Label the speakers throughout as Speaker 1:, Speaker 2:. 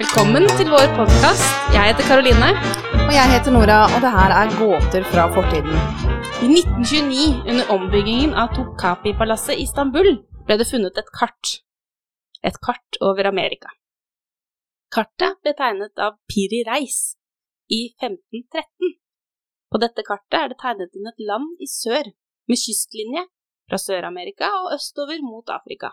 Speaker 1: Velkommen til vår podkast. Jeg heter Karoline.
Speaker 2: Og jeg heter Nora, og det her er gåter fra fortiden.
Speaker 1: I 1929, under ombyggingen av Tokapi-palasset i Istanbul, ble det funnet et kart. Et kart over Amerika. Kartet ble tegnet av Piri Reis i 1513. På dette kartet er det tegnet inn et land i sør, med kystlinje fra Sør-Amerika og østover mot Afrika.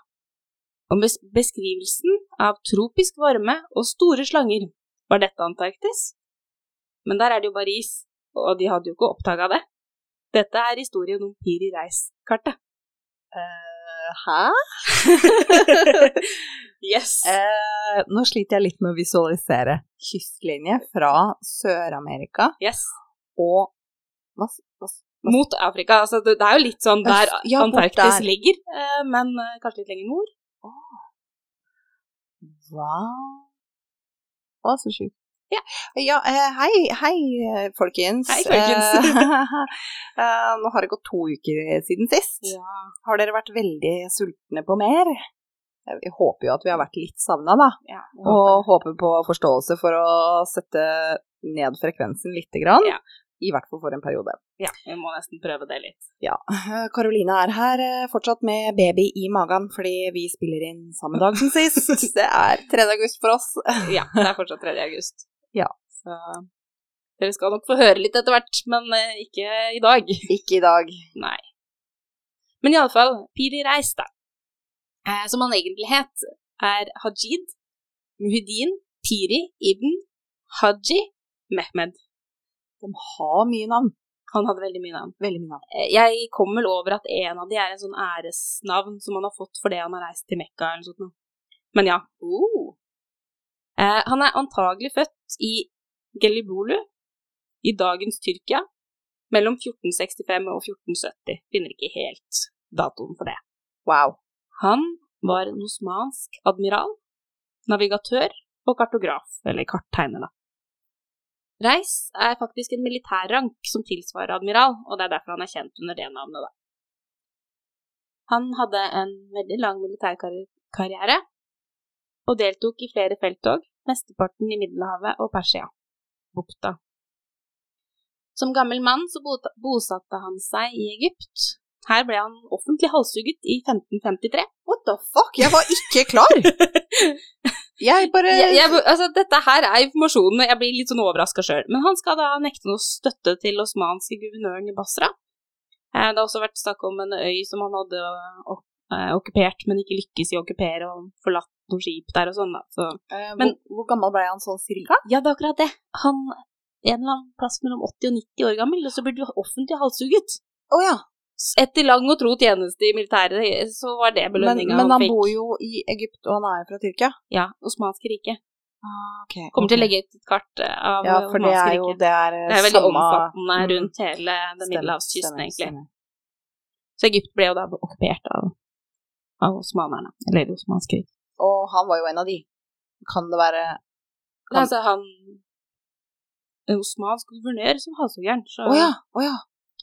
Speaker 1: Og bes- beskrivelsen av tropisk varme og store slanger, var dette Antarktis? Men der er det jo bare is, og de hadde jo ikke oppdaga det. Dette er historien om Piri Reis-kartet.
Speaker 2: Hæ?
Speaker 1: yes.
Speaker 2: Eh, nå sliter jeg litt med å visualisere kystlinje fra Sør-Amerika
Speaker 1: yes.
Speaker 2: og hva, s- hva, s-
Speaker 1: Mot Afrika. Altså, det det er jo litt sånn der
Speaker 2: Øst- ja, bort
Speaker 1: Antarktis
Speaker 2: der.
Speaker 1: ligger, eh, men eh, kanskje litt lenger nord.
Speaker 2: hva? Å, så sjukt.
Speaker 1: Ja.
Speaker 2: Ja, eh, hei, hei, eh, folkens.
Speaker 1: Hei, folkens.
Speaker 2: Eh, eh, nå har det gått to uker siden sist. Har dere vært veldig sultne på mer? Jeg håper jo at vi har vært litt savna, da.
Speaker 1: Ja, jeg
Speaker 2: Og håper på forståelse for å sette ned frekvensen lite grann.
Speaker 1: Ja.
Speaker 2: I hvert fall for en periode.
Speaker 1: Ja, vi må nesten prøve det litt.
Speaker 2: Karoline er her eh, fortsatt med baby i magen, fordi vi spiller inn samme dag som sist. Det er 3. august for oss.
Speaker 1: Ja, det er fortsatt 3. august.
Speaker 2: Ja.
Speaker 1: Så dere skal nok få høre litt etter hvert, men eh, ikke i dag.
Speaker 2: Ikke i dag.
Speaker 1: Nei. Men iallfall, Piri Reis, da, eh, som han egentlig het, er Hajid Muhydin Piri Ibn Haji Mehmed.
Speaker 2: De har mye navn.
Speaker 1: Han hadde veldig mye navn.
Speaker 2: Veldig mye navn.
Speaker 1: Eh, Jeg kom vel over at en av de er en sånn æresnavn som han har fått fordi han har reist til Mekka eller noe sånt. noe. Men ja. Oh. Eh, han er antagelig født i Gelibolu i dagens Tyrkia mellom 1465 og 1470. Finner ikke helt datoen for det.
Speaker 2: Wow.
Speaker 1: Han var en osmansk admiral, navigatør og kartograf, eller karttegner, da. Reis er faktisk en militærrank som tilsvarer admiral, og det er derfor han er kjent under det navnet, da. Han hadde en veldig lang militærkarriere, og deltok i flere felttog, mesteparten i Middelhavet og Persia-bukta. Som gammel mann så bota- bosatte han seg i Egypt. Her ble han offentlig halshugget i 1553.
Speaker 2: What the fuck? Jeg var ikke klar! Jeg bare
Speaker 1: jeg, jeg, altså, dette her er informasjonen, og jeg blir litt sånn overraska sjøl. Men han skal da nekte noe støtte til osmanske guvernøren i Basra. Eh, Det har også vært snakk om en øy som han hadde eh, ok- eh, okkupert, men ikke lykkes i å okkupere, og forlatt noen skip der og sånn. da. Så,
Speaker 2: Eh,
Speaker 1: men-
Speaker 2: hvor, hvor gammel ble han sånn cirka?
Speaker 1: ja, det er akkurat det. Han en eller annen plass mellom 80 og 90 år gammel, og så blir du offentlig halshugget.
Speaker 2: Å ja.
Speaker 1: Etter lang og tro tjeneste i militæret, eh, så var det
Speaker 2: Men,
Speaker 1: belønninga
Speaker 2: men
Speaker 1: han
Speaker 2: han
Speaker 1: fikk.
Speaker 2: bor jo i Egypt, og han er jo fra Tyrkia.
Speaker 1: Ja, Osmanske riket.
Speaker 2: Okay,
Speaker 1: Kommer til å legge ut et kart eh, av
Speaker 2: Ja, for det
Speaker 1: Osmanske
Speaker 2: er
Speaker 1: riket.
Speaker 2: jo det er, eh,
Speaker 1: Det er veldig
Speaker 2: samme-
Speaker 1: omfattende
Speaker 2: Mm.
Speaker 1: rundt hele den
Speaker 2: Stemmer,
Speaker 1: middelhavskysten,
Speaker 2: stemmer,
Speaker 1: egentlig.
Speaker 2: stemmer.
Speaker 1: Så Egypt ble jo da okkupert av, av osmanerne, eller osmansk krig.
Speaker 2: Og han var jo en av de. Kan det være Kan-
Speaker 1: Altså, han en osmansk guvernør som halshuggeren, så
Speaker 2: Å ja, å ja.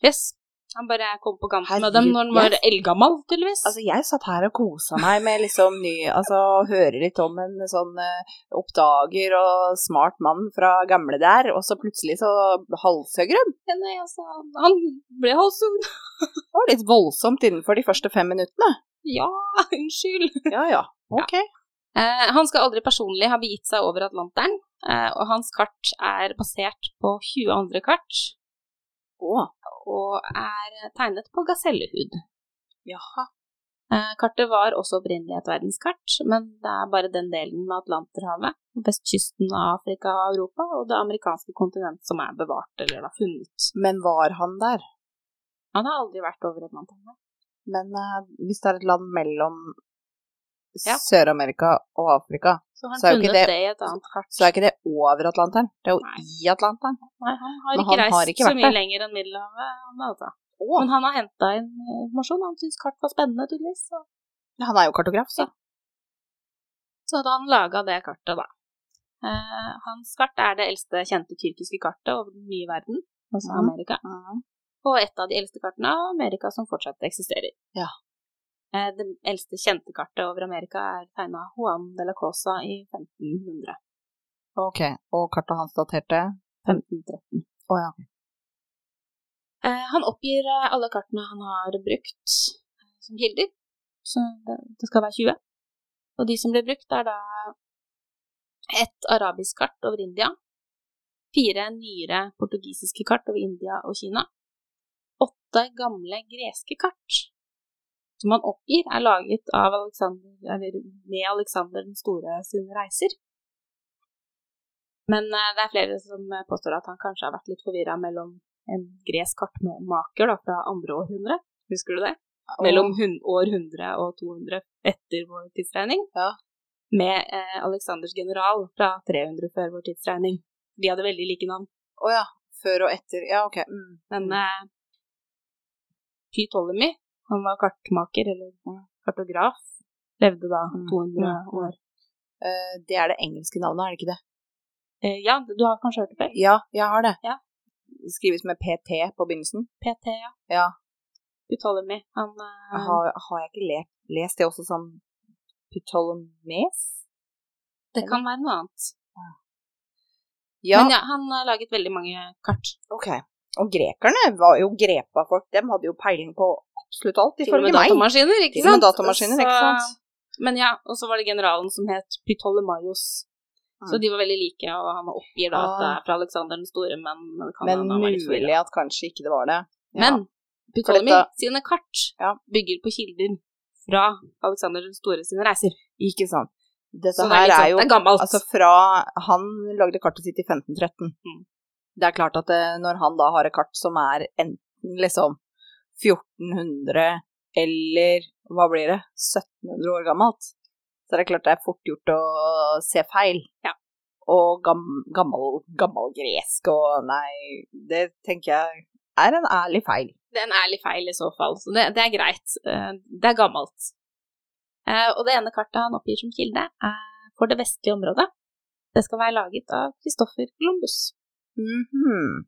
Speaker 1: yes. Han bare kom på kanten med
Speaker 2: Herregud,
Speaker 1: dem når han var eldgammel, tydeligvis.
Speaker 2: Altså, jeg satt her og kosa meg med liksom ny Altså, høre litt om en sånn eh, oppdager og smart mann fra gamle der, og så plutselig så halshøgger hun.
Speaker 1: Ja, nei, altså, han ble halshugd.
Speaker 2: Det var litt voldsomt innenfor de første fem minuttene.
Speaker 1: Ja, unnskyld.
Speaker 2: Ja ja, ok.
Speaker 1: Eh, han skal aldri personlig ha begitt seg over Atlanteren, eh, og hans kart er basert på 20 andre kart,
Speaker 2: Å,
Speaker 1: og er tegnet på gasellehud.
Speaker 2: jaha.
Speaker 1: Eh, Kartet var også opprinnelig et verdenskart, men det er bare den delen med Atlanterhavet, vestkysten av Afrika og Europa og det amerikanske kontinent som er bevart eller da funnet.
Speaker 2: Men var han der?
Speaker 1: Han har aldri vært over Atlanterhavet.
Speaker 2: Men eh, hvis det er et land mellom
Speaker 1: Ja.
Speaker 2: Sør-Amerika og Afrika,
Speaker 1: Så han
Speaker 2: Så er jo
Speaker 1: funnet
Speaker 2: ikke
Speaker 1: det...
Speaker 2: det-
Speaker 1: i et annet kart.
Speaker 2: så er ikke det over Atlanteren. Det er jo
Speaker 1: Nei.
Speaker 2: i Atlanteren.
Speaker 1: Nei, han har
Speaker 2: Men
Speaker 1: ikke
Speaker 2: han
Speaker 1: reist
Speaker 2: har ikke
Speaker 1: så
Speaker 2: vært
Speaker 1: mye
Speaker 2: der.
Speaker 1: lenger enn Middelhavet. Han, altså.
Speaker 2: Å,
Speaker 1: Men han har henta inn informasjon. Han syntes kart var spennende, tydeligvis. Så,
Speaker 2: han er jo kartograf, så.
Speaker 1: så hadde han laga det kartet, da. Eh, hans kart er det eldste kjente tyrkiske kartet over den nye verden, altså
Speaker 2: Mhm.
Speaker 1: Amerika. og et av de eldste kartene av Amerika som fortsatt eksisterer.
Speaker 2: Ja.
Speaker 1: Eh, Det eldste kjente kartet over Amerika er tegna Juan de la Cosa i 1500.
Speaker 2: Ok, og kartet hans daterte? 1513. Å ja.
Speaker 1: Eh, han oppgir eh, alle kartene han har brukt eh, som kilder, så det, det skal være 20. Og de som ble brukt, er da ett arabisk kart over India, fire nyere portugisiske kart over India og Kina, åtte gamle greske kart, som han oppgir er laget av Alexander, eller med Alexander den store sine reiser. Men eh, det er flere som eh, påstår at han kanskje har vært litt forvirra mellom en gresk kartmaker da, fra andre århundre, husker du det?
Speaker 2: Og-
Speaker 1: Mellom hun- år 100 og 200 etter vår tidsregning.
Speaker 2: Ja.
Speaker 1: Med eh, Alexanders general fra 300 før vår tidsregning. De hadde veldig like navn.
Speaker 2: Å ja. Før og etter. Ja, ok. Mm.
Speaker 1: Men eh, Ptolemy, han var kartmaker, eller eh, kartograf, levde da
Speaker 2: Mm.
Speaker 1: 200
Speaker 2: Mm.
Speaker 1: år.
Speaker 2: Eh, det er det engelske navnet, er det ikke det?
Speaker 1: Eh, ja, du har kanskje hørt det før?
Speaker 2: Ja, jeg har det.
Speaker 1: Ja.
Speaker 2: Det skrives med PT på begynnelsen.
Speaker 1: PT, ja.
Speaker 2: Ja.
Speaker 1: Ptolemy. Han eh,
Speaker 2: Har, har jeg ikke le lest det også som Ptolemes?
Speaker 1: Det kan være noe annet.
Speaker 2: Ja,
Speaker 1: Men ja, han har laget veldig mange kart.
Speaker 2: ok. Og grekerne var jo grepa folk. De hadde jo peiling på absolutt alt,
Speaker 1: Til og
Speaker 2: ifølge
Speaker 1: med
Speaker 2: meg.
Speaker 1: datamaskiner, ikke
Speaker 2: Til og med
Speaker 1: sant?
Speaker 2: datamaskiner, ikke
Speaker 1: Så-
Speaker 2: sant?
Speaker 1: Men ja, og så var det generalen som het Pytolemaios. Så
Speaker 2: Mm.
Speaker 1: de var veldig like, og han oppgir da at det er fra Alexander den store, men det kan
Speaker 2: Ah. Men
Speaker 1: hende han var litt
Speaker 2: mulig
Speaker 1: forvirret.
Speaker 2: at kanskje ikke det var det. Ja.
Speaker 1: Men Pytolemy
Speaker 2: dette-
Speaker 1: sine kart
Speaker 2: Ja.
Speaker 1: bygger på kilder fra Alexander den store sine reiser.
Speaker 2: Ikke sant. Dette
Speaker 1: Så det er,
Speaker 2: her
Speaker 1: litt
Speaker 2: er,
Speaker 1: sånn,
Speaker 2: jo
Speaker 1: det er gammelt.
Speaker 2: Altså fra Han lagde kartet sitt i 1513.
Speaker 1: Mm.
Speaker 2: Det er klart at eh, når han da har et kart som er enten liksom 1400 eller hva blir det, 1700 år gammelt, så er det klart det er fort gjort å se feil.
Speaker 1: Ja.
Speaker 2: Og gam, gammel, gammel gresk og Nei, det tenker jeg er en ærlig feil.
Speaker 1: Det er en ærlig feil i så fall, så det, det er greit. Eh, Det er gammelt. Eh, Og det ene kartet han oppgir som kilde, er for det vestlige området. Det skal være laget av Christoffer Columbus.
Speaker 2: Mhm.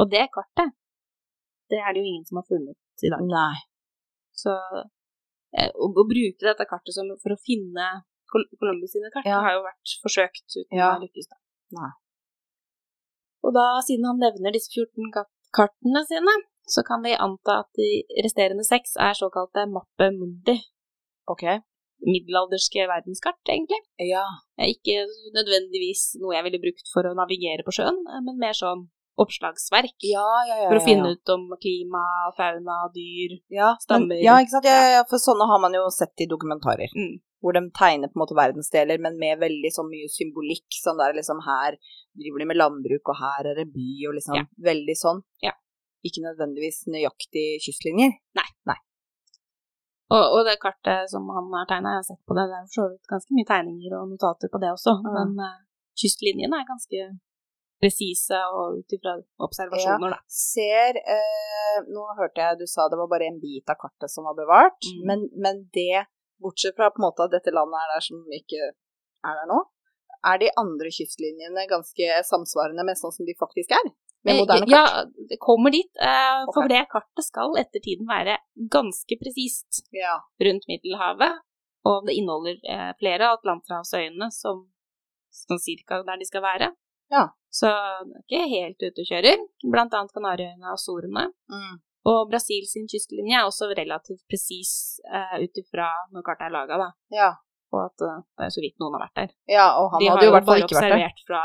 Speaker 1: Og det kartet, det er det jo ingen som har funnet i dag.
Speaker 2: Nei.
Speaker 1: Så eh, å, å bruke dette kartet som, for å finne Col- Columbus sine kart
Speaker 2: Ja.
Speaker 1: har jo vært forsøkt uten
Speaker 2: Ja.
Speaker 1: å ha lykkes. Da.
Speaker 2: Nei.
Speaker 1: Og da, siden han nevner disse 14 ka- kartene sine, så kan vi anta at de resterende seks er såkalte mappe mundi,
Speaker 2: Ok.
Speaker 1: middelalderske verdenskart, egentlig.
Speaker 2: Ja.
Speaker 1: Eh, Ikke nødvendigvis noe jeg ville brukt for å navigere på sjøen, eh, men mer sånn oppslagsverk.
Speaker 2: Ja, ja, ja.
Speaker 1: For å
Speaker 2: ja, ja.
Speaker 1: finne ut om klima, fauna, dyr
Speaker 2: Ja,
Speaker 1: Stammer.
Speaker 2: men- Ja, ikke sant? Ja, ja, ja, for sånne har man jo sett i dokumentarer.
Speaker 1: Mm.
Speaker 2: Hvor de tegner på en måte verdensdeler, men med veldig så mye symbolikk. Sånn der liksom her driver de med landbruk, og her er det by, og liksom
Speaker 1: Ja.
Speaker 2: veldig sånn.
Speaker 1: Ja.
Speaker 2: Ikke nødvendigvis nøyaktig kystlinjer.
Speaker 1: Og, og det kartet som han har tegna, jeg har sett på det, det er for så vidt ganske mye tegninger og notater på det også,
Speaker 2: Ja.
Speaker 1: men eh, kystlinjene er ganske presise og ut ifra observasjoner, da.
Speaker 2: Ser eh, Nå hørte jeg du sa det var bare en bit av kartet som var bevart,
Speaker 1: Mm.
Speaker 2: men, men det, bortsett fra på en måte at dette landet er der som ikke er der nå, er de andre kystlinjene ganske samsvarende med sånn som de faktisk er? Med moderne
Speaker 1: Eh,
Speaker 2: kart?
Speaker 1: Ja, det kommer dit, eh, for
Speaker 2: Ok.
Speaker 1: det kartet skal etter tiden være ganske presist
Speaker 2: Ja.
Speaker 1: rundt Middelhavet, og det inneholder eh, flere av Atlanterhavsøyene som sånn cirka der de skal være.
Speaker 2: Ja.
Speaker 1: Så det er ikke helt ute og kjører, blant annet Kanariøyene og Azorene.
Speaker 2: Mm.
Speaker 1: Og Brasil sin kystlinje er også relativt presis eh, ut ifra når kartet er laga, da.
Speaker 2: Ja.
Speaker 1: Og at eh, det er så vidt noen har vært der.
Speaker 2: ja, og han
Speaker 1: De
Speaker 2: hadde jo i
Speaker 1: har
Speaker 2: hvert fall ikke vært der.
Speaker 1: observert fra,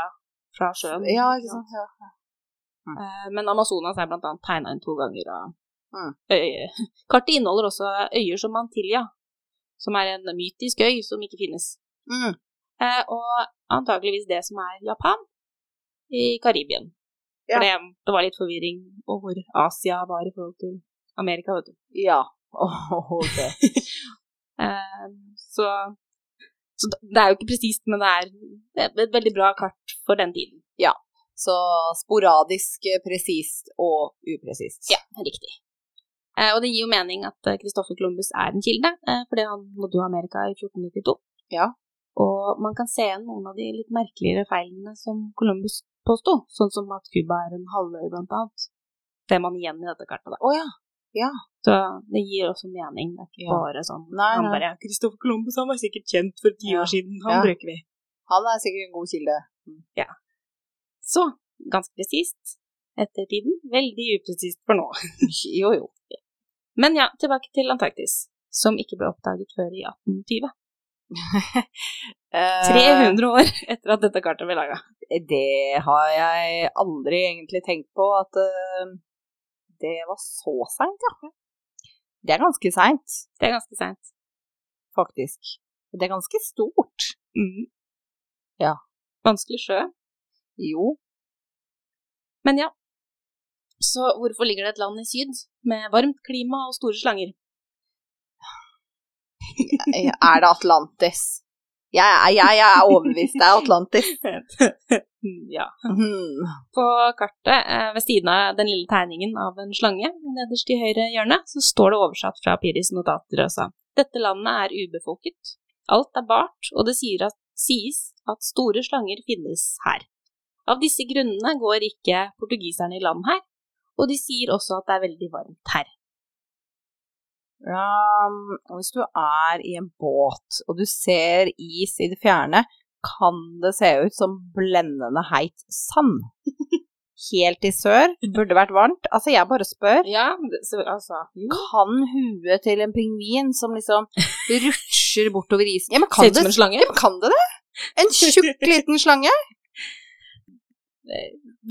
Speaker 1: fra sjøen.
Speaker 2: Ja, ikke sant. Ja.
Speaker 1: Eh, men Amazonas er blant annet tegna inn to ganger. Og,
Speaker 2: Mm.
Speaker 1: øy, kartet inneholder også øyer som Mantilla, som er en mytisk øy som ikke finnes.
Speaker 2: Mm.
Speaker 1: Eh, og antakeligvis det som er Japan i Karibien.
Speaker 2: Ja.
Speaker 1: For det, det var litt forvirring om hvor Asia var i forhold til Amerika, vet du.
Speaker 2: ja. Åh, ok.
Speaker 1: Eh, så, så det er jo ikke presist, men det er et- et veldig bra kart for den tiden.
Speaker 2: Så sporadisk, eh, presist og upresist.
Speaker 1: riktig. Eh, og det gir jo mening at eh, Christopher Columbus er en kilde, eh, fordi han nådde jo Amerika i 1492.
Speaker 2: Ja.
Speaker 1: Og man kan se igjen noen av de litt merkeligere feilene som Columbus påsto, sånn som at Cuba er en halvøy, blant annet. Ser man igjen i dette kartet, da.
Speaker 2: Å ja.
Speaker 1: Så det gir også mening. Det er ikke
Speaker 2: Ja.
Speaker 1: bare sånn
Speaker 2: Nei,
Speaker 1: Han
Speaker 2: nei.
Speaker 1: bare Christopher Columbus han var sikkert kjent for ti
Speaker 2: Ja.
Speaker 1: år siden,
Speaker 2: Ja.
Speaker 1: han bruker vi.
Speaker 2: Han er sikkert en god kilde.
Speaker 1: Så, ganske presist etter tiden. Veldig upresist for nå.
Speaker 2: Jo, jo.
Speaker 1: Men ja, tilbake til Antarktis, som ikke ble oppdaget før i 1820.
Speaker 2: Eh,
Speaker 1: 300 år etter at dette kartet ble laga.
Speaker 2: Det har jeg aldri egentlig tenkt på, at eh, det var så seint, ja. Det er ganske seint,
Speaker 1: Det er ganske seint.
Speaker 2: faktisk. Det er ganske stort. Mhm.
Speaker 1: Mm.
Speaker 2: Ja.
Speaker 1: Vanskelig sjø.
Speaker 2: Jo.
Speaker 1: Men ja. Så hvorfor ligger det et land i syd med varmt klima og store slanger?
Speaker 2: Er det Atlantis? Jeg er, jeg er overbevist, det er Atlantis. Mm,
Speaker 1: ja.
Speaker 2: Mhm.
Speaker 1: På kartet eh, ved siden av den lille tegningen av en slange nederst i høyre hjørne, så står det oversatt fra Piris notater og sa Dette landet er ubefolket. Alt er bart, og det sier at, sies at store slanger finnes her. Av disse grunnene går ikke portugiserne i land her, og de sier også at det er veldig varmt her.
Speaker 2: Um, hvis du er i en båt og du ser is i det fjerne, kan det se ut som blendende heit sand. Helt i sør, burde vært varmt. Altså, jeg bare spør.
Speaker 1: Ja, så altså
Speaker 2: Kan huet til en pingvin som liksom rutsjer bortover isen Ja, men
Speaker 1: Ser
Speaker 2: kan
Speaker 1: ut som
Speaker 2: det,
Speaker 1: en slange.
Speaker 2: ja, men kan det det? En tjukk liten slange?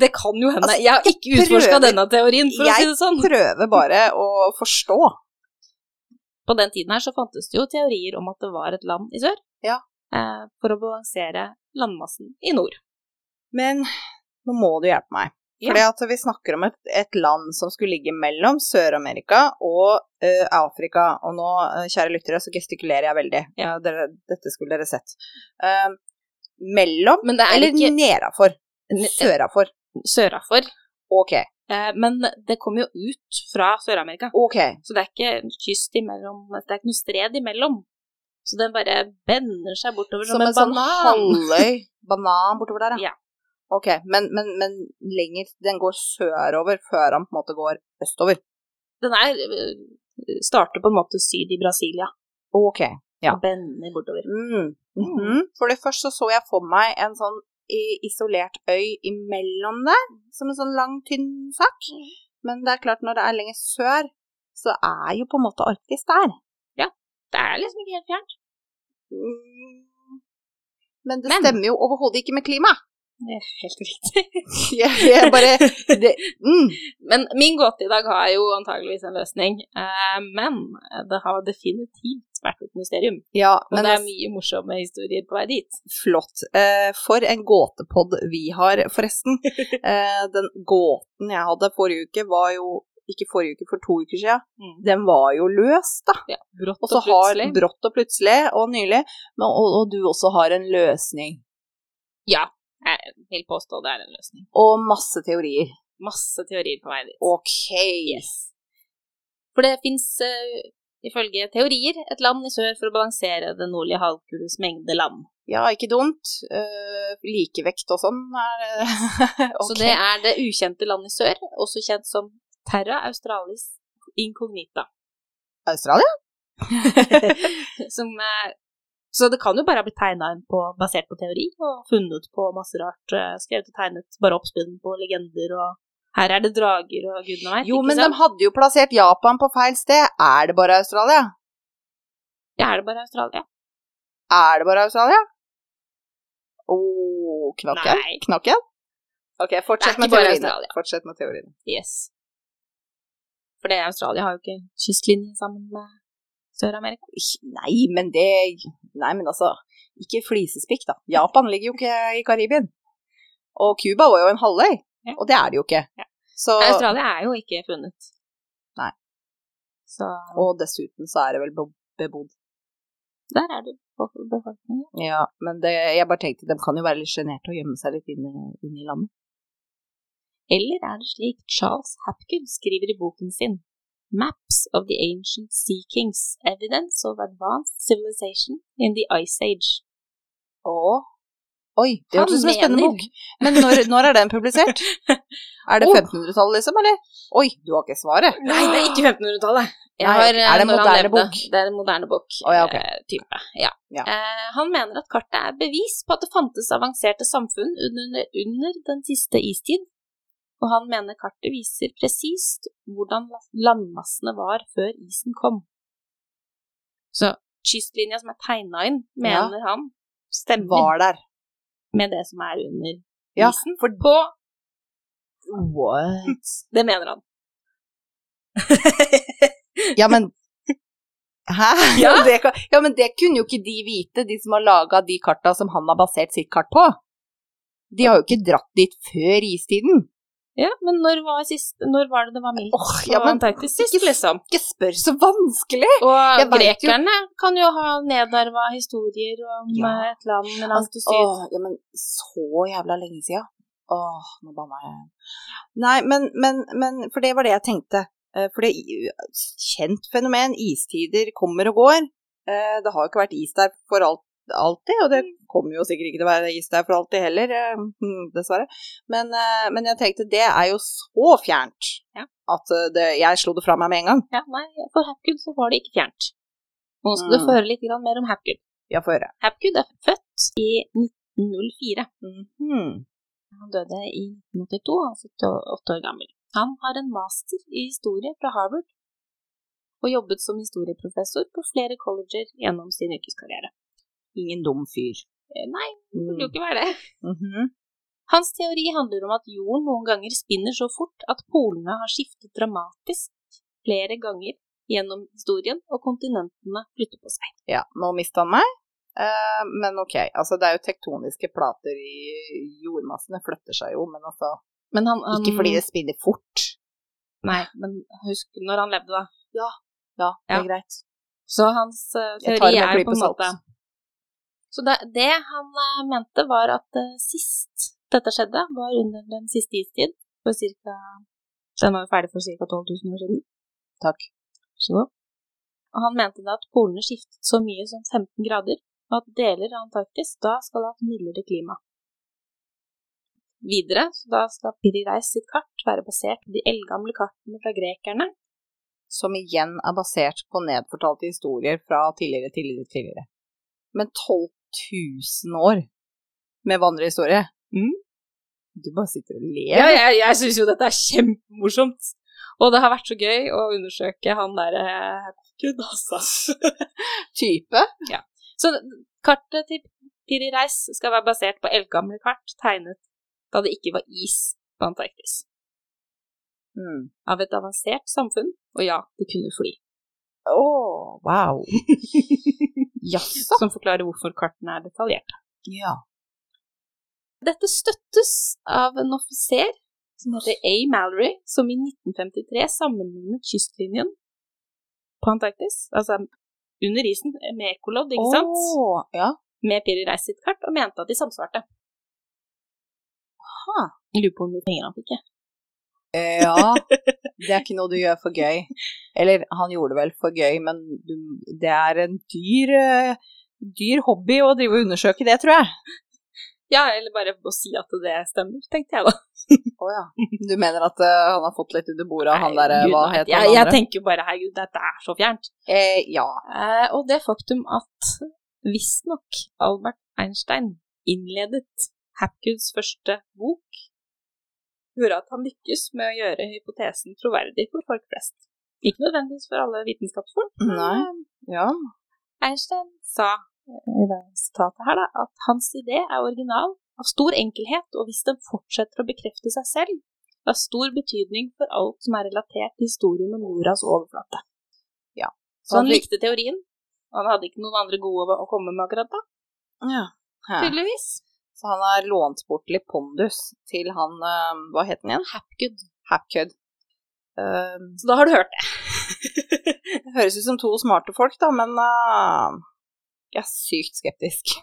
Speaker 1: Det kan jo hende.
Speaker 2: Altså,
Speaker 1: jeg har ikke
Speaker 2: jeg
Speaker 1: utforska
Speaker 2: prøver-
Speaker 1: denne teorien, for å
Speaker 2: Jeg
Speaker 1: si det sånn.
Speaker 2: Prøver bare å forstå.
Speaker 1: På den tiden her så fantes det jo teorier om at det var et land i sør,
Speaker 2: Ja.
Speaker 1: eh, for å balansere landmassen i nord.
Speaker 2: Men nå må du hjelpe meg.
Speaker 1: Ja.
Speaker 2: Fordi at vi snakker om et, et land som skulle ligge mellom Sør-Amerika og eh, Afrika. Og nå, eh, kjære lyttere, så gestikulerer jeg veldig.
Speaker 1: Ja.
Speaker 2: Eh, dere, dette skulle dere sett. Eh, mellom
Speaker 1: Men det er
Speaker 2: eller
Speaker 1: ikke
Speaker 2: nedafor.
Speaker 1: Ne-
Speaker 2: Sørafor.
Speaker 1: sørafor.
Speaker 2: Ok.
Speaker 1: Eh, men det kommer jo ut fra Sør-Amerika,
Speaker 2: Ok.
Speaker 1: så det er ikke en kyst imellom, det er ikke noe stred imellom. Så den bare bender seg bortover som, en, banan.
Speaker 2: sånn halvøy banan bortover der,
Speaker 1: Ja.
Speaker 2: Ok, men, men, men lenger Den går sørover før han på en måte går østover.
Speaker 1: Den er, eh, starter på en måte syd i Brasilia
Speaker 2: Ok. Ja.
Speaker 1: og bender bortover.
Speaker 2: Mm. Mhm. Fordi først så, så jeg for meg en sånn i- isolert øy imellom der, som en sånn lang, tynn sak.
Speaker 1: Mm.
Speaker 2: Men det er klart, når det er lenger sør, så er jo på en måte Arktis der.
Speaker 1: Det er liksom ikke helt fjernt.
Speaker 2: Mm. Men det
Speaker 1: Men-
Speaker 2: stemmer jo overhodet ikke med klima.
Speaker 1: Det er helt riktig.
Speaker 2: Jeg, jeg bare det, mm.
Speaker 1: Men min gåte i dag har jo antageligvis en løsning. Eh, men det har definitivt vært et mysterium.
Speaker 2: Ja,
Speaker 1: Og
Speaker 2: men altså-
Speaker 1: det er mye morsomme historier på vei dit.
Speaker 2: flott. Eh, for en gåtepod vi har, forresten. Eh, den gåten jeg hadde forrige uke, var jo ikke forrige uke, for to uker siden.
Speaker 1: Mm.
Speaker 2: Den var jo løs, da.
Speaker 1: Ja, brått
Speaker 2: Og så har brått og plutselig og nylig, men, og, og du også har en løsning.
Speaker 1: Ja, jeg vil påstå det er en løsning.
Speaker 2: Og masse teorier.
Speaker 1: Masse teorier på vei dit.
Speaker 2: Ok.
Speaker 1: For det fins, ifølge teorier, et land i sør for å balansere den nordlige halvkules mengde land.
Speaker 2: Ja, ikke dumt. Eh, likevekt og sånn er eh, ok.
Speaker 1: Så det er det ukjente landet i sør, også kjent som Terra Australis Incognita.
Speaker 2: Australia?
Speaker 1: som eh, Så det kan jo bare ha blitt tegna inn på, basert på teori, og funnet på masse rart. eh, Skrevet og tegnet, bare oppspunnet på legender og Her er det drager og gudene veit.
Speaker 2: Jo,
Speaker 1: ikke
Speaker 2: men de
Speaker 1: sant?
Speaker 2: hadde jo plassert Japan på feil sted. Er det bare Australia?
Speaker 1: Ja, er det bare Australia?
Speaker 2: Er det bare Australia? Å, oh, knakk jeg?
Speaker 1: Nei.
Speaker 2: Knakk jeg? Ok,
Speaker 1: Det
Speaker 2: fortsett
Speaker 1: er
Speaker 2: med
Speaker 1: ikke bare
Speaker 2: teoriene.
Speaker 1: Australia.
Speaker 2: Fortsett med teoriene.
Speaker 1: Yes. For det Australia har jo ikke kystlinje sammen med Sør-Amerika.
Speaker 2: Ikk- Nei, men det Nei, men altså Ikke flisespikk, da. Japan ligger jo ikke i Karibien. Og Cuba var jo en halvøy,
Speaker 1: Ja.
Speaker 2: og det er det jo ikke.
Speaker 1: Ja.
Speaker 2: Så,
Speaker 1: Nei, Australia er jo ikke funnet.
Speaker 2: Nei.
Speaker 1: Så
Speaker 2: og dessuten så er det vel bo- bebodd.
Speaker 1: der er du på befolkningen.
Speaker 2: Ja, men det, jeg bare tenkte de kan jo være litt sjenerte og gjemme seg litt inne, inne i landet.
Speaker 1: Eller er det slik Charles Hapgood skriver i boken sin Maps of the Ancient Sea Kings, Evidence of Advanced Civilization in the Ice Age.
Speaker 2: Å. Oi, det
Speaker 1: Han
Speaker 2: hørtes ut som en spennende
Speaker 1: mener- Oh.
Speaker 2: bok. Men når, når er den publisert? Er det
Speaker 1: Å.
Speaker 2: 1500-tallet, liksom, eller? Oi, du har ikke svaret.
Speaker 1: Nei, det er ikke 1500-tallet. Jeg
Speaker 2: Nei,
Speaker 1: har, eh,
Speaker 2: er det en
Speaker 1: når han
Speaker 2: moderne
Speaker 1: levde-
Speaker 2: bok?
Speaker 1: Det er en moderne bok.
Speaker 2: Å, ja, ok.
Speaker 1: eh, type. Ja.
Speaker 2: Ja.
Speaker 1: Eh, han mener at kartet er bevis på at det fantes avanserte samfunn under, under den siste istid, og han mener kartet viser presist hvordan landmassene var før isen kom. Så kystlinja som er tegna inn,
Speaker 2: Ja.
Speaker 1: mener han, stemmer
Speaker 2: Var der.
Speaker 1: med det som er under
Speaker 2: Ja,
Speaker 1: isen.
Speaker 2: for
Speaker 1: På
Speaker 2: What?
Speaker 1: Det mener han.
Speaker 2: Ja, men Hæ?
Speaker 1: Ja.
Speaker 2: Ja. Det, kan- ja, men det kunne jo ikke de vite, de som har laga de karta som han har basert sitt kart på. De har jo ikke dratt dit før istiden.
Speaker 1: Ja, men når var, sist, når var det det var mildt
Speaker 2: Åh, ja,
Speaker 1: på
Speaker 2: men
Speaker 1: Antarktis sist,
Speaker 2: ikke-
Speaker 1: liksom?
Speaker 2: Ikke spør så vanskelig!
Speaker 1: Og
Speaker 2: Jeg vet jo-
Speaker 1: grekerne kan jo ha nedarva historier om
Speaker 2: Ja.
Speaker 1: eh, et land langt til syd.
Speaker 2: Åh, ja, men så jævla lenge sida. Åh, nå banna jeg. Nei, men, men, men For det var det jeg tenkte. Eh, For det er kjent fenomen. Istider kommer og går. Eh, Det har jo ikke vært is der for alt, alltid, og det kommer jo sikkert ikke til å være is der for alltid heller, eh, hm, dessverre. Men, eh, men jeg tenkte, det er jo så fjernt
Speaker 1: Ja.
Speaker 2: at eh, det, jeg slo det fra meg med en gang.
Speaker 1: Ja, nei, for Hapgood så var det ikke fjernt. Nå skal du
Speaker 2: Mm.
Speaker 1: få høre litt grann mer om Hapgood.
Speaker 2: Ja, få høre.
Speaker 1: Hapgood er født i 1904.
Speaker 2: Hmm.
Speaker 1: Han døde i 1982, han var 78 år gammel. Han har en master i historie fra Harvard, og jobbet som historieprofessor på flere colleger gjennom sin yrkeskarriere.
Speaker 2: Ingen dum fyr.
Speaker 1: Eh, Nei, det burde jo
Speaker 2: Mm.
Speaker 1: ikke være det.
Speaker 2: Mhm.
Speaker 1: Hans teori handler om at jorden noen ganger spinner så fort at polene har skiftet dramatisk flere ganger gjennom historien, og kontinentene flytter på seg.
Speaker 2: Ja, nå mista han meg. Eh, men ok, altså det er jo tektoniske plater i jordmassene, flytter seg jo, men altså
Speaker 1: Men han, han
Speaker 2: Ikke fordi det spinner fort.
Speaker 1: Nei, men husk når han levde, da.
Speaker 2: Ja, det er
Speaker 1: Ja.
Speaker 2: greit.
Speaker 1: Så hans eh,
Speaker 2: Jeg tar
Speaker 1: teori
Speaker 2: det med en
Speaker 1: er på
Speaker 2: klype
Speaker 1: en
Speaker 2: salt.
Speaker 1: måte Så det, det han eh, mente, var at eh, sist dette skjedde, var under den siste istid, for cirka Den var jo ferdig for ca. 12 000 år siden.
Speaker 2: Takk.
Speaker 1: Så god. Og han mente da at polene skiftet så mye som 15 grader, og at deler av Antarktis da skal ha et mildere klima. Videre så da skal Piri Reis sitt kart være basert på de eldgamle kartene fra grekerne.
Speaker 2: Som igjen er basert på nedfortalte historier fra tidligere, tidligere, tidligere. Men 12 000 år med vandrehistorie
Speaker 1: Mm.
Speaker 2: Du bare sitter og ler.
Speaker 1: Ja, jeg, jeg syns jo dette er kjempemorsomt. Og det har vært så gøy å undersøke han eh, derre Gud, altså.
Speaker 2: Type.
Speaker 1: Så kartet til Piri Reis skal være basert på eldgamle kart tegnet da det ikke var is på Antarktis.
Speaker 2: Mm.
Speaker 1: Av et avansert samfunn, og ja, det kunne fly.
Speaker 2: Åh, wow. Jaså.
Speaker 1: Som forklarer hvorfor kartene er detaljerte.
Speaker 2: Ja.
Speaker 1: Dette støttes av en offiser som heter A. Mallory, som i 1953 sammenlignet kystlinjen på Antarktis, altså under isen, med ekkolodd, ikke sant?
Speaker 2: Åh, ja.
Speaker 1: med Piri Reis sitt kart og mente at de samsvarte.
Speaker 2: Ha.
Speaker 1: Jeg lurer på hvor mye penger han fikk. jeg.
Speaker 2: Eh, Ja, det er ikke noe du gjør for gøy. Eller han gjorde det vel for gøy, men du, det er en dyr, eh, dyr hobby å drive og undersøke det, tror jeg.
Speaker 1: Ja, eller bare å si at det stemmer, tenkte jeg da.
Speaker 2: Å ja. Du mener at eh, han har fått litt under bordet av han
Speaker 1: Nei,
Speaker 2: derre
Speaker 1: Gud,
Speaker 2: Hva
Speaker 1: nei,
Speaker 2: het
Speaker 1: jeg,
Speaker 2: han
Speaker 1: jeg
Speaker 2: andre?
Speaker 1: tenker jo bare herregud, dette er så fjernt.
Speaker 2: Eh, ja.
Speaker 1: Eh, og det faktum at visstnok Albert Einstein innledet Hapgoods første bok, gjorde at han lykkes med å gjøre hypotesen troverdig for folk flest. Ikke nødvendigvis for alle vitenskapsfolk, men
Speaker 2: Nei. ja.
Speaker 1: Einstein sa eh, i det sitatet her da, at hans idé er original, av stor enkelhet, og hvis den fortsetter å bekrefte seg selv, det har stor betydning for alt som er relatert til historien om jordas overflate.
Speaker 2: Ja.
Speaker 1: Så han
Speaker 2: Han fikk-
Speaker 1: likte teorien, og han hadde ikke noen andre gode å- å komme med akkurat da,
Speaker 2: ja. Hæ.
Speaker 1: tydeligvis.
Speaker 2: Så han har lånt bort litt pondus til han eh, Hva het han igjen?
Speaker 1: Hapgood.
Speaker 2: Hapkød. Eh,
Speaker 1: Så da har du hørt det.
Speaker 2: det høres ut som to smarte folk, da, men eh, jeg er sykt skeptisk.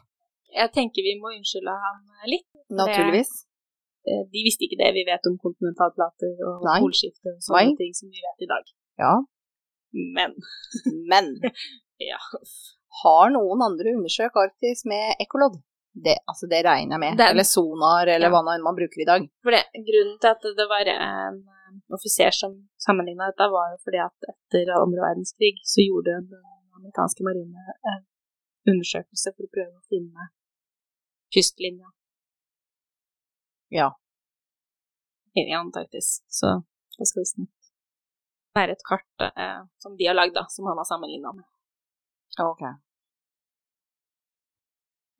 Speaker 1: Jeg tenker vi må unnskylde han litt.
Speaker 2: Naturligvis.
Speaker 1: Eh, De visste ikke det vi vet om kontinentalplater og
Speaker 2: Nei.
Speaker 1: polskifte og sånne
Speaker 2: Nei.
Speaker 1: ting som vi vet i dag.
Speaker 2: Ja.
Speaker 1: Men
Speaker 2: Men
Speaker 1: Ja.
Speaker 2: har noen andre undersøkt Arktis med ekkolodd? Det, altså det regner jeg med.
Speaker 1: Den-
Speaker 2: Eller sonar, eller
Speaker 1: Ja.
Speaker 2: hva nå enn man bruker i dag.
Speaker 1: For det, grunnen til at det var en eh, offiser som sammenligna dette, var jo fordi at etter andre verdenskrig så gjorde den amerikanske marine en undersøkelse for å prøve å finne kystlinja
Speaker 2: Ja.
Speaker 1: inn i Antarktis. Så hva skal vi si? Det er et kart eh, som de har lagd, da, som han har sammenligna med.
Speaker 2: Ok.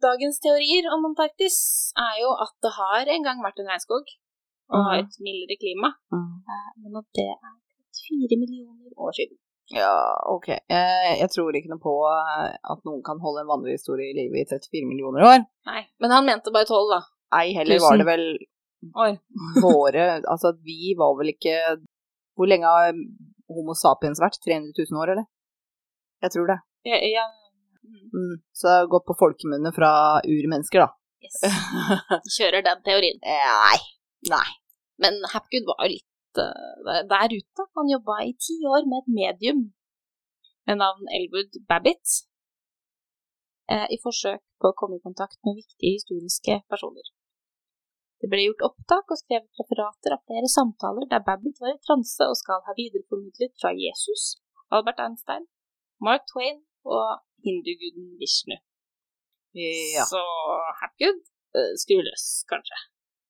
Speaker 1: Dagens teorier om Antarktis er jo at det har en gang vært en regnskog, og har et mildere klima, men at det er 34 millioner år siden.
Speaker 2: Ja, ok. Eh, Jeg tror ikke noe på eh, at noen kan holde en vandrehistorie i live i 34 millioner år.
Speaker 1: Nei, men han mente bare 12, da.
Speaker 2: Ei heller
Speaker 1: Tusen.
Speaker 2: var det vel
Speaker 1: År.
Speaker 2: våre Altså, vi var vel ikke Hvor lenge har Homo sapiens vært? 300 000 år, eller? Jeg tror det.
Speaker 1: Ja, ja. Mm,
Speaker 2: Mm. Så det har gått på folkemunne fra urmennesker, da.
Speaker 1: Yes. Kjører den teorien.
Speaker 2: Nei.
Speaker 1: Men Hapgood var jo litt eh, der ute. Han jobba i ti år med et medium med navn Elwood Babbitt eh, i forsøk på å komme i kontakt med viktige historiske personer. Det ble gjort opptak og skrevet referater av flere samtaler der Babbitt var i transe og skal ha videreformidlet fra Jesus, Albert Einstein, Mark Twain og hinduguden Vishnu.
Speaker 2: Ja.
Speaker 1: Så Hapgood eh, skrur løs, kanskje.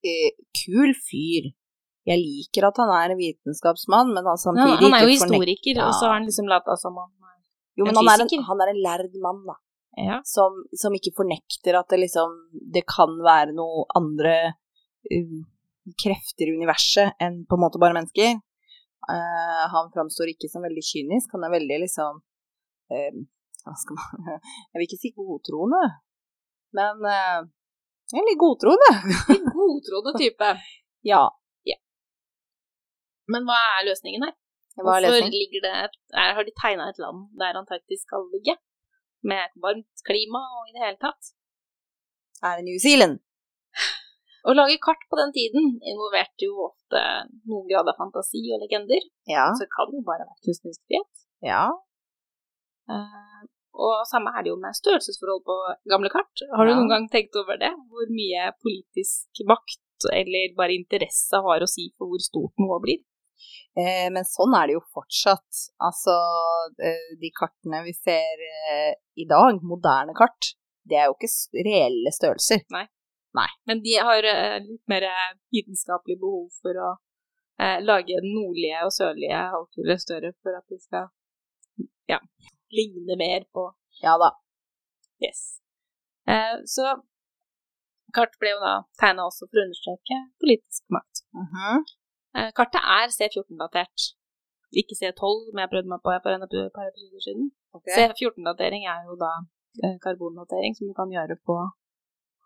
Speaker 2: Eh, Kul fyr. Jeg liker at han er en vitenskapsmann, men han
Speaker 1: Han,
Speaker 2: samtidig
Speaker 1: han er jo
Speaker 2: ikke fornek-
Speaker 1: historiker, og så har han liksom lata som han er
Speaker 2: Jo, men
Speaker 1: en
Speaker 2: han er en,
Speaker 1: fysiker.
Speaker 2: han er en lærd mann, da.
Speaker 1: Ja.
Speaker 2: som, som ikke fornekter at det liksom det kan være noe andre eh, krefter i universet enn på en måte bare mennesker. Eh, han framstår ikke som veldig kynisk, han er veldig liksom eh, Hva skal man Jeg vil ikke si godtroende, men uh, Eller godtroende.
Speaker 1: En godtroende type.
Speaker 2: Ja.
Speaker 1: Men hva er løsningen her?
Speaker 2: Det var
Speaker 1: Hvorfor
Speaker 2: lesning.
Speaker 1: ligger det et, er, har de tegna et land der Antarktis skal ligge? Med et varmt klima og i det hele tatt.
Speaker 2: Er det New Zealand?
Speaker 1: Å lage kart på den tiden involverte jo ofte noen grad av fantasi og legender,
Speaker 2: Ja.
Speaker 1: så det kan jo bare være kunstnerisk frihet.
Speaker 2: ja.
Speaker 1: Eh, og samme er det jo med størrelsesforhold på gamle kart. Har du
Speaker 2: Ja.
Speaker 1: noen gang tenkt over det? Hvor mye politisk makt eller bare interesse har å si for hvor stort noe blir?
Speaker 2: Eh, men sånn er det jo fortsatt. Altså, eh, de kartene vi ser eh, i dag, moderne kart, det er jo ikke s- reelle størrelser.
Speaker 1: Men de har eh, litt mer eh, vitenskapelig behov for å eh, lage den nordlige og sørlige halvkule større for at de skal ja, ligne mer på
Speaker 2: Ja da.
Speaker 1: Yes. Eh, så kart ble jo da tegna også for å understreke politisk makt.
Speaker 2: Mhm.
Speaker 1: Eh, kartet er C14-datert. Ikke C12, som jeg prøvde meg på her for en par episoder siden. C14-datering er jo da eh, karbondatering som du kan gjøre på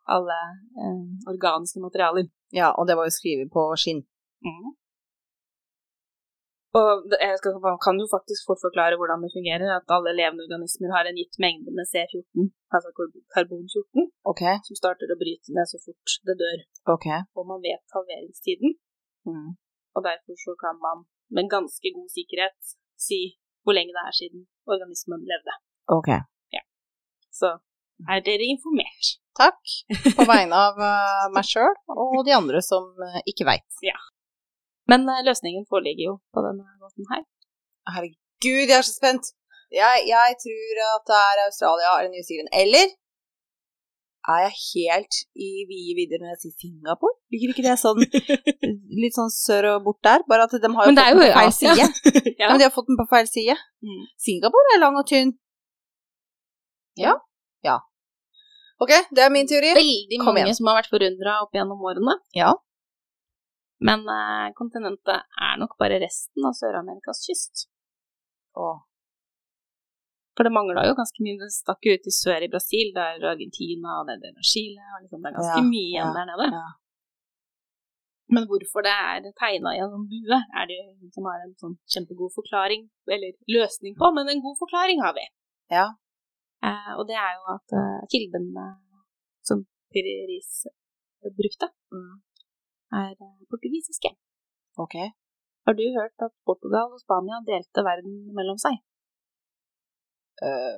Speaker 1: alle eh, organiske materialer.
Speaker 2: Ja, og det var jo skrevet på skinn.
Speaker 1: Mm. Og det- jeg skal, kan jo faktisk fort forklare hvordan det fungerer, at alle levende organismer har en gitt mengde med C14, altså kar- karbon-14,
Speaker 2: Ok.
Speaker 1: som starter å bryte ned så fort det dør.
Speaker 2: Ok.
Speaker 1: Og man vet halveringstiden,
Speaker 2: Mm.
Speaker 1: og derfor så kan man med ganske god sikkerhet si hvor lenge det er siden organismen levde.
Speaker 2: Ok.
Speaker 1: Så er dere informert?
Speaker 2: Takk på vegne av eh, meg sjøl og de andre som eh, ikke veit.
Speaker 1: Men eh, løsningen foreligger jo på denne måten her.
Speaker 2: Herregud, jeg er så spent! Jeg, jeg tror at det er Australia eller New Zealand. Eller er jeg helt i vide vidder når jeg sier Singapore? Ligger ikke det sånn litt sånn sør og bort der? Bare at de har jo
Speaker 1: Men det er jo
Speaker 2: fått den
Speaker 1: i
Speaker 2: på feil
Speaker 1: Asia.
Speaker 2: side.
Speaker 1: ja.
Speaker 2: Ja, men de har fått den på feil side.
Speaker 1: Mm.
Speaker 2: Singapore er lang og tynn. Ja. Ja. Ok, det er min teori.
Speaker 1: veldig
Speaker 2: Kom
Speaker 1: mange
Speaker 2: igjen.
Speaker 1: som har vært forundra opp gjennom årene.
Speaker 2: Ja.
Speaker 1: Men eh, kontinentet er nok bare resten av Sør-Amerikas kyst.
Speaker 2: Åh,
Speaker 1: For det mangla jo ganske mye. Det stakk jo ut i sør i Brasil, der Argentina og det der Chile og liksom, Det er ganske
Speaker 2: Ja,
Speaker 1: mye igjen
Speaker 2: ja,
Speaker 1: der nede.
Speaker 2: ja.
Speaker 1: Men hvorfor det er tegna i en sånn bue, er det ingen som har en sånn kjempegod forklaring, eller løsning på, men en god forklaring har vi.
Speaker 2: Ja.
Speaker 1: Eh, og det er jo at eh, kildene som Piris brukte,
Speaker 2: Mm.
Speaker 1: er eh, portugisiske.
Speaker 2: ok.
Speaker 1: Har du hørt at Portugal og Spania delte verden mellom seg?
Speaker 2: Eh,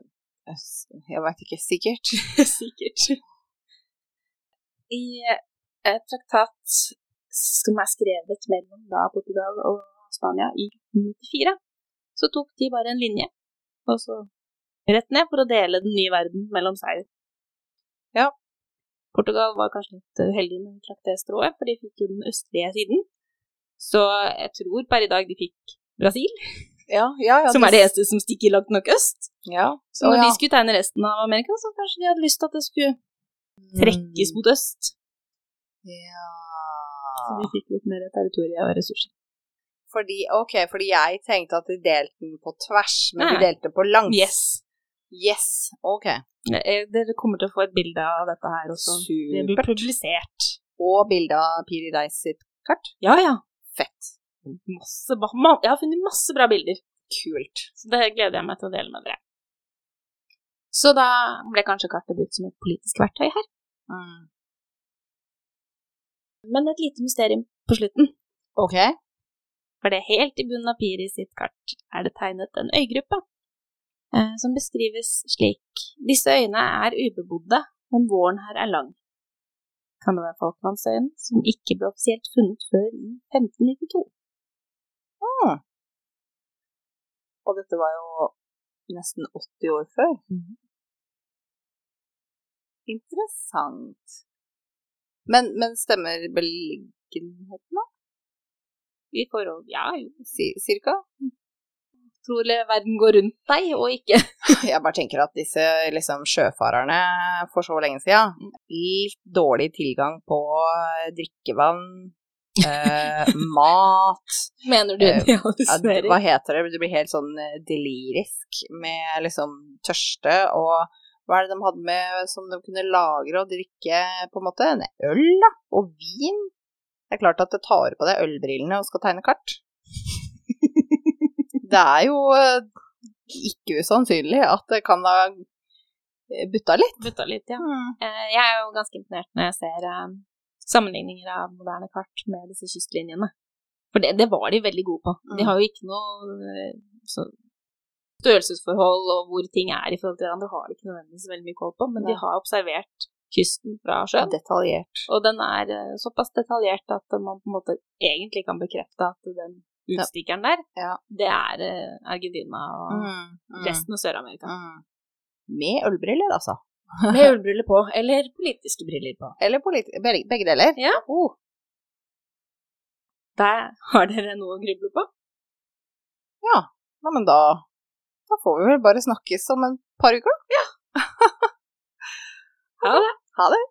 Speaker 2: s- jeg vet ikke sikkert.
Speaker 1: Sikkert. eh, I et traktat som er skrevet mellom da Portugal og Spania i 94. Så tok de bare en linje, og så rett ned for å dele den nye verden mellom seg.
Speaker 2: Ja.
Speaker 1: Portugal var kanskje litt eh, uheldig når de trakk det strået, for de fikk jo den østlige siden. Så jeg tror per i dag de fikk Brasil,
Speaker 2: Ja, ja, ja.
Speaker 1: som er det eneste som stikker langt nok øst.
Speaker 2: Ja.
Speaker 1: Så når
Speaker 2: Å, ja.
Speaker 1: de skulle tegne resten av Amerika, så kanskje de hadde lyst til at det skulle
Speaker 2: Mm.
Speaker 1: trekkes mot øst.
Speaker 2: Ja.
Speaker 1: Så de fikk litt mer territorium og ressurser.
Speaker 2: Fordi, ok, fordi jeg tenkte at de delte den på tvers, men de
Speaker 1: Nei.
Speaker 2: delte den på langs.
Speaker 1: Yes.
Speaker 2: Yes, ok.
Speaker 1: Eh, Dere kommer til å få et bilde av dette her også. Det blir
Speaker 2: Supert.
Speaker 1: publisert.
Speaker 2: Og bildet av Piri Deis sitt kart.
Speaker 1: Ja, ja.
Speaker 2: Fett.
Speaker 1: Masse, ba- ma- jeg har funnet masse bra bilder,
Speaker 2: Kult.
Speaker 1: så det gleder jeg meg til å dele med dere. Så da ble kanskje kartet brukt som et politisk verktøy her. Mm. Men et lite mysterium på slutten.
Speaker 2: Ok.
Speaker 1: For det er helt i bunnen av Piri sitt kart er det tegnet en øygruppe, eh, som beskrives slik. Disse øyene er ubebodde, men våren her er lang. Kan det være Falklandsøyen, som ikke ble offisielt funnet før i 1592?
Speaker 2: Og dette var jo nesten 80 år før.
Speaker 1: Mhm.
Speaker 2: Interessant. Men, men stemmer beliggenheten da?
Speaker 1: I forhold, ja, jo.
Speaker 2: Si- Cirka?
Speaker 1: tror verden går rundt deg, og ikke
Speaker 2: Jeg bare tenker at disse liksom, sjøfarerne for så lenge siden Litt dårlig tilgang på drikkevann, eh, mat
Speaker 1: Mener du
Speaker 2: Eh,
Speaker 1: det?
Speaker 2: ja, d- Hva heter det? Du blir helt sånn eh, delirisk med liksom tørste og hva er det de hadde med som de kunne lagre og drikke, på en måte? En øl, da? Og vin? Det er klart at det tar på deg ølbrillene og skal tegne kart. det er jo eh, ikke usannsynlig at det kan ha eh, butta litt. Mm.
Speaker 1: Butta litt, ja. Eh, Jeg er jo ganske imponert når jeg ser eh, sammenligninger av moderne kart med disse kystlinjene. For det, det var de veldig gode på. De
Speaker 2: Mm.
Speaker 1: har jo ikke noe eh, så, størrelsesforhold og hvor ting er i forhold til hverandre, har de ikke nødvendigvis veldig mye koll på, men de
Speaker 2: Nei.
Speaker 1: har observert kysten fra
Speaker 2: Ja,
Speaker 1: sjøen.
Speaker 2: Detaljert.
Speaker 1: Og den er eh, såpass detaljert at man på en måte egentlig kan bekrefte at den utstikkeren der,
Speaker 2: Ja.
Speaker 1: det er eh, Argentina og resten av Sør-Amerika.
Speaker 2: Mm. Med ølbriller, altså.
Speaker 1: Med ullbriller på, eller politiske briller på.
Speaker 2: Eller politi begge, begge deler.
Speaker 1: Ja.
Speaker 2: Oh.
Speaker 1: Der har dere noe å gruble på.
Speaker 2: Ja, men da, da får vi vel bare snakkes om en par uker, da.
Speaker 1: Ha det!
Speaker 2: Ha det.